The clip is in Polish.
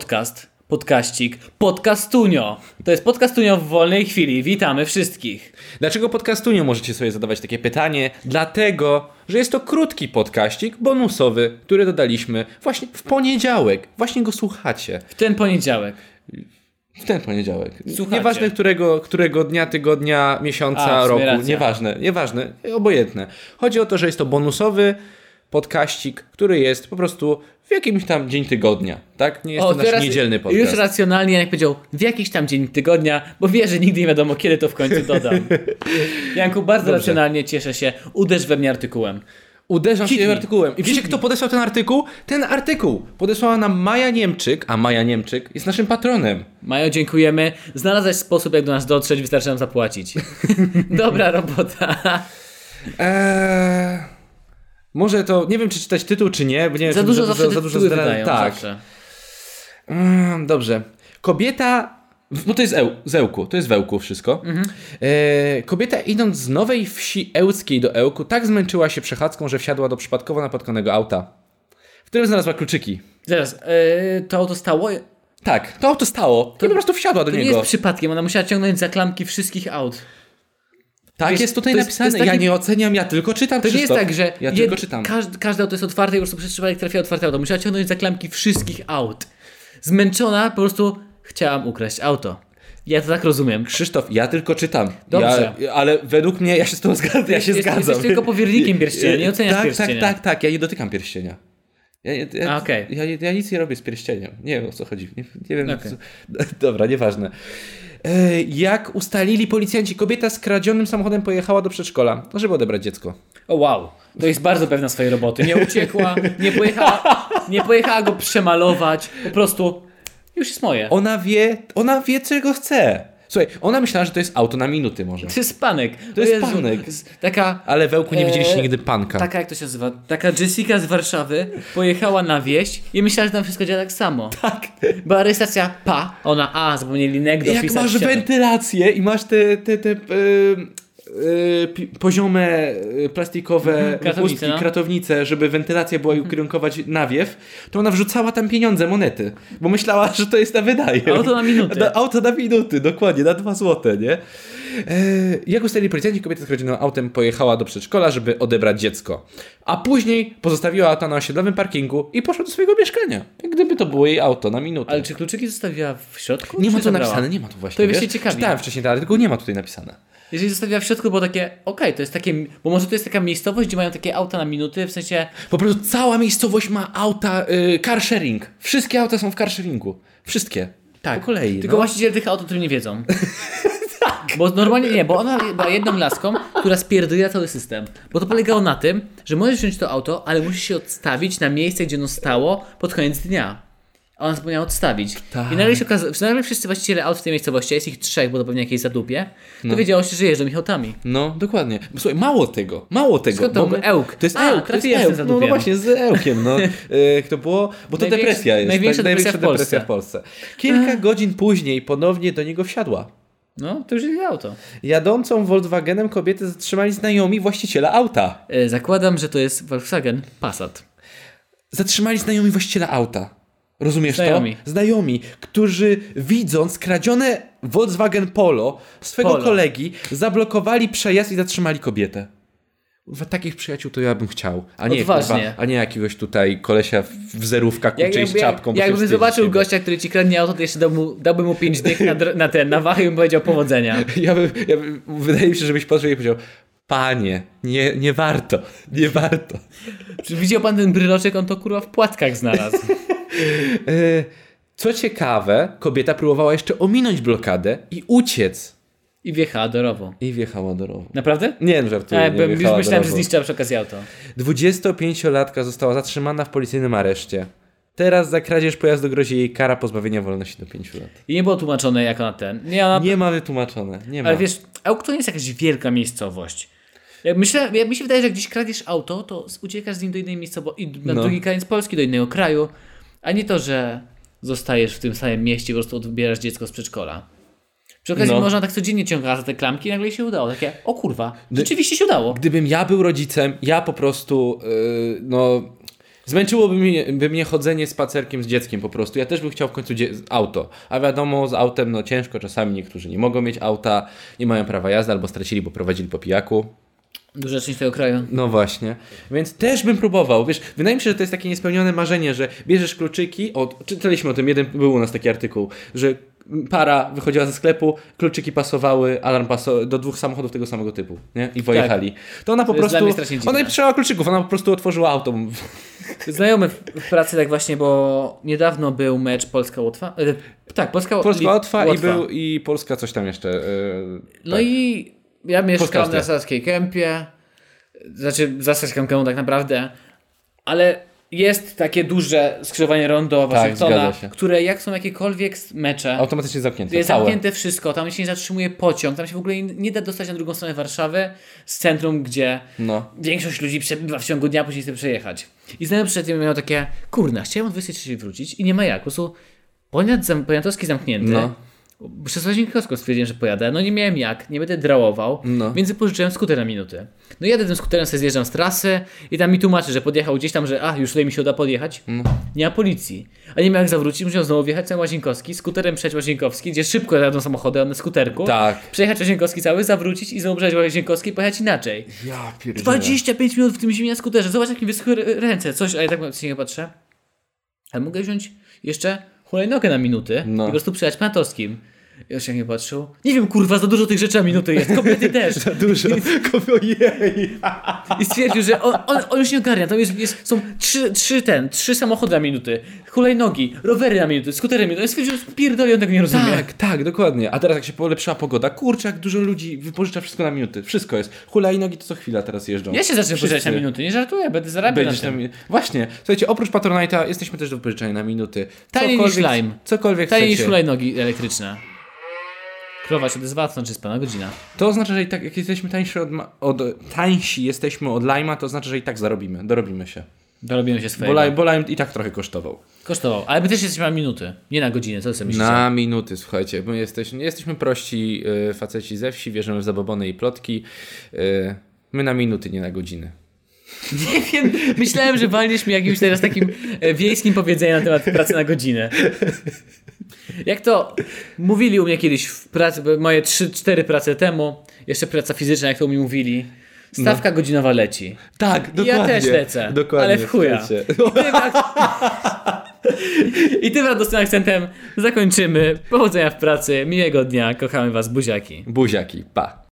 Podcast, podkaścik, podcastunio. To jest podcastunio w wolnej chwili. Witamy wszystkich. Dlaczego podcastunio możecie sobie zadawać takie pytanie? Dlatego, że jest to krótki podkaścik bonusowy, który dodaliśmy właśnie w poniedziałek. Właśnie go słuchacie. W ten poniedziałek. W ten poniedziałek. Słuchacie. Nieważne którego, którego dnia, tygodnia, miesiąca, A, w sumie roku. racja. Nieważne, nieważne, obojętne. Chodzi o to, że jest to bonusowy podkaścik, który jest po prostu w jakimś tam dzień tygodnia, tak? Nie jest to nasz niedzielny podcast. Już racjonalnie, jak powiedział, w jakiś tam dzień tygodnia, bo wie, że nigdy nie wiadomo, kiedy to w końcu dodam. Janku, bardzo racjonalnie cieszę się. Uderz we mnie artykułem. Uderzam się Hit tym me. artykułem. I wiecie, kto podesłał ten artykuł? Ten artykuł podesłała nam Maja Niemczyk, a Maja Niemczyk jest naszym patronem. Majo, dziękujemy. Znalazłeś sposób, jak do nas dotrzeć, wystarczy nam zapłacić. Dobra robota. Eee, może to, nie wiem czy czytać tytuł, czy nie, bo nie wiem, Za czy dużo zawsze za dużo zdra- Tak. Tak. Zawsze. Mm, dobrze. Kobieta. No to jest eł, z Ełku, to jest w Ełku wszystko. Mhm. E, kobieta idąc z nowej wsi ełckiej do Ełku tak zmęczyła się przechadzką, że wsiadła do przypadkowo napotkanego auta, w którym znalazła kluczyki. Zaraz, yy, to auto stało? Tak, to auto stało i po prostu wsiadła do To nie niego. jest przypadkiem, ona musiała ciągnąć za klamki wszystkich aut. Tak Wiesz, jest tutaj to jest- napisane. to jest Ja taki- nie oceniam, ja tylko czytam. To nie jest Krzysztof. tak, że Ja jed- tylko czytam. Każdy, każde auto jest otwarte i po prostu przez przypadek trafia otwarte auto. Musiała ciągnąć za klamki wszystkich aut. Zmęczona po prostu chciałam ukraść auto. Ja to tak rozumiem. Krzysztof, ja tylko czytam. Dobrze. Ja, ale według mnie ja się z tobą zgadzam. Ja się Jesteś- zgadzam. jesteś tylko powiernikiem pierścienia, nie oceniasz tak, pierścienia. Tak, tak, tak. Ja nie dotykam pierścienia. Ja, ja, ja, A, okej. ja, ja nic nie robię z pierścieniem. Nie wiem o co chodzi. Nie, nie wiem. Okej. Co... Dobra, nieważne. E, Jak ustalili policjanci, kobieta z kradzionym samochodem pojechała do przedszkola, żeby odebrać dziecko. O wow, to jest bardzo pewna swojej roboty. Nie uciekła, nie pojechała, nie pojechała go przemalować. Po prostu już jest moje. Ona wie, ona wie czego chce. Słuchaj, ona myślała, że to jest auto na minuty może. To jest panek. To jest panek. Taka Ale wełku nie widzieliście Eee, nigdy panka. Taka, jak to się nazywa? Taka Jessica z Warszawy pojechała na wieś i myślała, że tam wszystko działa tak samo. Tak. Była rejestracja pa, ona a, zapomnieli E nek Jak dopisać. masz siada. wentylację i masz te, te, te em, e, pi- poziome e, plastikowe kratownice, chustki, no. Mhm. kratownice, żeby wentylacja była i ukierunkować nawiew, to ona wrzucała tam pieniądze, monety, bo myślała, że to jest na wydaje. Auto na minuty. Na, auto na minuty, dokładnie, na dwa złote, nie? E, jak ustalili policjanci, kobieta z rodziną autem pojechała do przedszkola, żeby odebrać dziecko, a później pozostawiła auto na osiedlowym parkingu i poszła do swojego mieszkania, jak gdyby to było jej auto na minutę. Ale czy kluczyki zostawiła w środku? Nie ma czy tu zabrała? napisane, nie ma tu właśnie. To mnie wiesz? się ciekawi. Czytałem wcześniej ten artykuł, nie ma tutaj napisane. Jeżeli zostawiła w środku, było takie, okej, to jest takie, bo może to jest taka miejscowość, gdzie mają takie auta na minuty, w sensie, Po prostu cała miejscowość ma auta, y, car sharing. Wszystkie auta są w car sharingu. Wszystkie. tak. Po kolei. Tylko no. właściciele tych aut o tym nie wiedzą. tak. Bo normalnie nie, bo ona była jedną laską, która spierdoliła cały system. Bo to polegało na tym, że możesz wziąć to auto, ale musisz się odstawić na miejsce, gdzie ono stało pod koniec dnia. A ona zapomniała odstawić. Tak. I nagle się okazało, że nagle wszyscy właściciele aut w tej miejscowości, a jest ich trzech, bo to pewnie jakieś zadupie, to wiedziało się, że jeżdżą ich autami. No, dokładnie. Bo Słuchaj, mało tego, mało tego. Skąd to bo był Ełk? To jest A, Ełk, to jest trafiłem z tym Ełk. No, no zadupiem. właśnie, z Ełkiem, no. Y, to było, bo to Największa- depresja jest. największa Tak, depresja w depresja w Polsce. Kilka godzin później ponownie do niego wsiadła. No, to już jest auto. Jadącą Volkswagenem kobietę zatrzymali znajomi właściciela auta. E, zakładam, że to jest Volkswagen Passat. Zatrzymali znajomi właściciela auta. Rozumiesz Znajomi. to? Znajomi, którzy widząc kradzione Volkswagen Polo swego Polo. kolegi, zablokowali przejazd i zatrzymali kobietę. Kurwa, takich przyjaciół to ja bym chciał. A nie, Odważnie. kurwa, a nie jakiegoś tutaj kolesia w- w zerówkach Jak, kurczę i z czapką. bo się jakbym wstydzi zobaczył siebie. gościa, który ci kradnie auto, to jeszcze dałbym, dałbym mu pięć dych na, dr- na ten, na wachę i bym powiedział powodzenia. Ja bym, ja bym, wydaje mi się, żebyś patrzył i powiedział, panie, nie, nie warto, nie warto. Czy widział pan ten bryloczek? On to kurwa w płatkach znalazł. E, Co ciekawe, kobieta próbowała jeszcze ominąć blokadę i uciec. I wjechała do rowu. I wjechała do rowu. Naprawdę? Nie, żartuję. Ja nie bym, już wjechała myślałem, do że rowu. zniszczyła przy okazji auto. 25-latka została zatrzymana w policyjnym areszcie. Teraz za kradzież pojazdu grozi jej kara pozbawienia wolności do 5 lat. I nie było tłumaczone jak ona ten. Nie, ona... Nie ma wytłumaczone. Nie ma. Ale wiesz, Ełk to nie jest jakaś wielka miejscowość. Ja myślę, ja, mi się wydaje, że jak gdzieś kradziesz auto, to z- uciekasz z nim do innej miejscowości, i na No. drugi koniec Polski, do innego kraju, a nie to, że zostajesz w tym samym mieście, po prostu odbierasz dziecko z przedszkola. Przy okazji No. można tak codziennie ciągała za te klamki i nagle jej się udało. Takie, o kurwa, rzeczywiście się udało. Gdybym ja był rodzicem, ja po prostu, yy, no, Zmęczyłoby mnie, by mnie chodzenie spacerkiem z dzieckiem po prostu. Ja też bym chciał w końcu dzie- auto. A wiadomo, z autem no ciężko, czasami niektórzy nie mogą mieć auta, nie mają prawa jazdy albo stracili, bo prowadzili po pijaku. Duża część tego kraju. No właśnie. Więc też bym próbował. Wiesz, wydaje mi się, że to jest takie niespełnione marzenie, że bierzesz kluczyki. O, czytaliśmy o tym, jeden był u nas taki artykuł, że para wychodziła ze sklepu, kluczyki pasowały, alarm pasował do dwóch samochodów tego samego typu, nie? I pojechali. To ona po Tak. To jest dla mnie prostu. strasznie dziwne. Ona nie potrzebowała kluczyków, ona po prostu otworzyła auto. Znajomy w, w pracy tak właśnie, bo niedawno był mecz Polska-Łotwa. E, tak, Polska, Polska Li- Łotwa i, był, i Polska coś tam jeszcze. Yy, No i ja mieszkam Podcaster. na Saskiej Kępie, znaczy za Saską Kępą tak naprawdę, ale jest takie duże skrzyżowanie rondo Waszyngtona, Tak, zgadza się. które jak są jakiekolwiek s- mecze, Automatycznie zamknięte. jest całe. zamknięte wszystko, tam się nie zatrzymuje pociąg, tam się w ogóle nie- nie da dostać na drugą stronę Warszawy z centrum, gdzie No. większość ludzi przebywa w ciągu dnia, później chce przejechać. I znajomy przed tym miał takie, kurna, chciałem o 23 wrócić i nie ma jak, po prostu poniat zam, poniatowski zamknięty. No. Przez łazień kiosko stwierdziłem, że pojadę, no nie miałem jak, nie będę drałował, No. więc wypożyczyłem skuter na minutę. No jadę tym skuterem, sobie zjeżdżam z trasy i tam mi tłumaczy, że podjechał gdzieś tam, że a, już tutaj mi się uda podjechać. No. Nie ma policji. A nie miał jak zawrócić, musiał znowu wjechać na Łazienkowski, skuterem przejść Łazienkowski, gdzie szybko jadą samochody, na skuterku. Tak. Przejechać Łazienkowski cały, zawrócić i znowu przejechać Łazienkowski i pojechać inaczej. Ja pierdolę. 25 minut w tym zimie na skuterze. Zobacz, jakie wyschły r- ręce. Coś, a ja tak się nie patrzę. Ale mogę wziąć jeszcze hulajnogę na minuty No. i po prostu przyjechać panatowskim. Ja się nie patrzył. Nie wiem, kurwa, za dużo tych rzeczy na minuty jest. Kobiety też. Za dużo. Ojej. I stwierdził, że on, on, on już nie ogarnia. Tam jest, jest, są trzy, trzy ten, trzy samochody na minuty, hulajnogi, rowery na minuty, skutery na minuty. Ja stwierdził, że pierdolę, on tego nie rozumie. Tak, tak, dokładnie. A teraz jak się polepszyła pogoda, kurczę, jak dużo ludzi wypożycza wszystko na minuty. Wszystko jest. Hulajnogi to co chwila teraz jeżdżą. Ja się zacznę Wszyscy. pożyczać na minuty, nie żartuję, będę zarabiał Będziesz na tym. tam... Właśnie, słuchajcie, oprócz Patronite'a jesteśmy też do wypożyczenia na minuty. Taniej niż Cokolwiek- Lime. Cokolwiek Taniej niż chcecie. hulajnogi elektryczna. Krowa się odezwała, to znaczy spana godzina. To oznacza, że i tak, jak jesteśmy tańsi od, ma- od, tańsi jesteśmy od Lime'a, to znaczy, że i tak zarobimy, dorobimy się. Dorobimy się Bo, swojego. Lime, bo Lime i tak trochę kosztował. Kosztował, ale my też jesteśmy na minuty, nie na godzinę, co sobie myślicie? Na minuty, słuchajcie, my jesteśmy, jesteśmy prości y, faceci ze wsi, wierzymy w zabobony i plotki. Y, my na minuty, nie na godziny. Nie wiem, myślałem, że walniesz mi jakimś teraz takim e, wiejskim powiedzeniem na temat pracy na godzinę. Jak to mówili u mnie kiedyś w pracy, bo moje 3-4 prace temu, jeszcze praca fizyczna, jak to mi mówili, stawka godzinowa leci. Tak, dokładnie. Ja też lecę, Dokładnie, ale w chuja. słuchajcie. I tym radosnym akcentem zakończymy. Powodzenia w pracy, miłego dnia, kochamy was, buziaki. Buziaki, pa.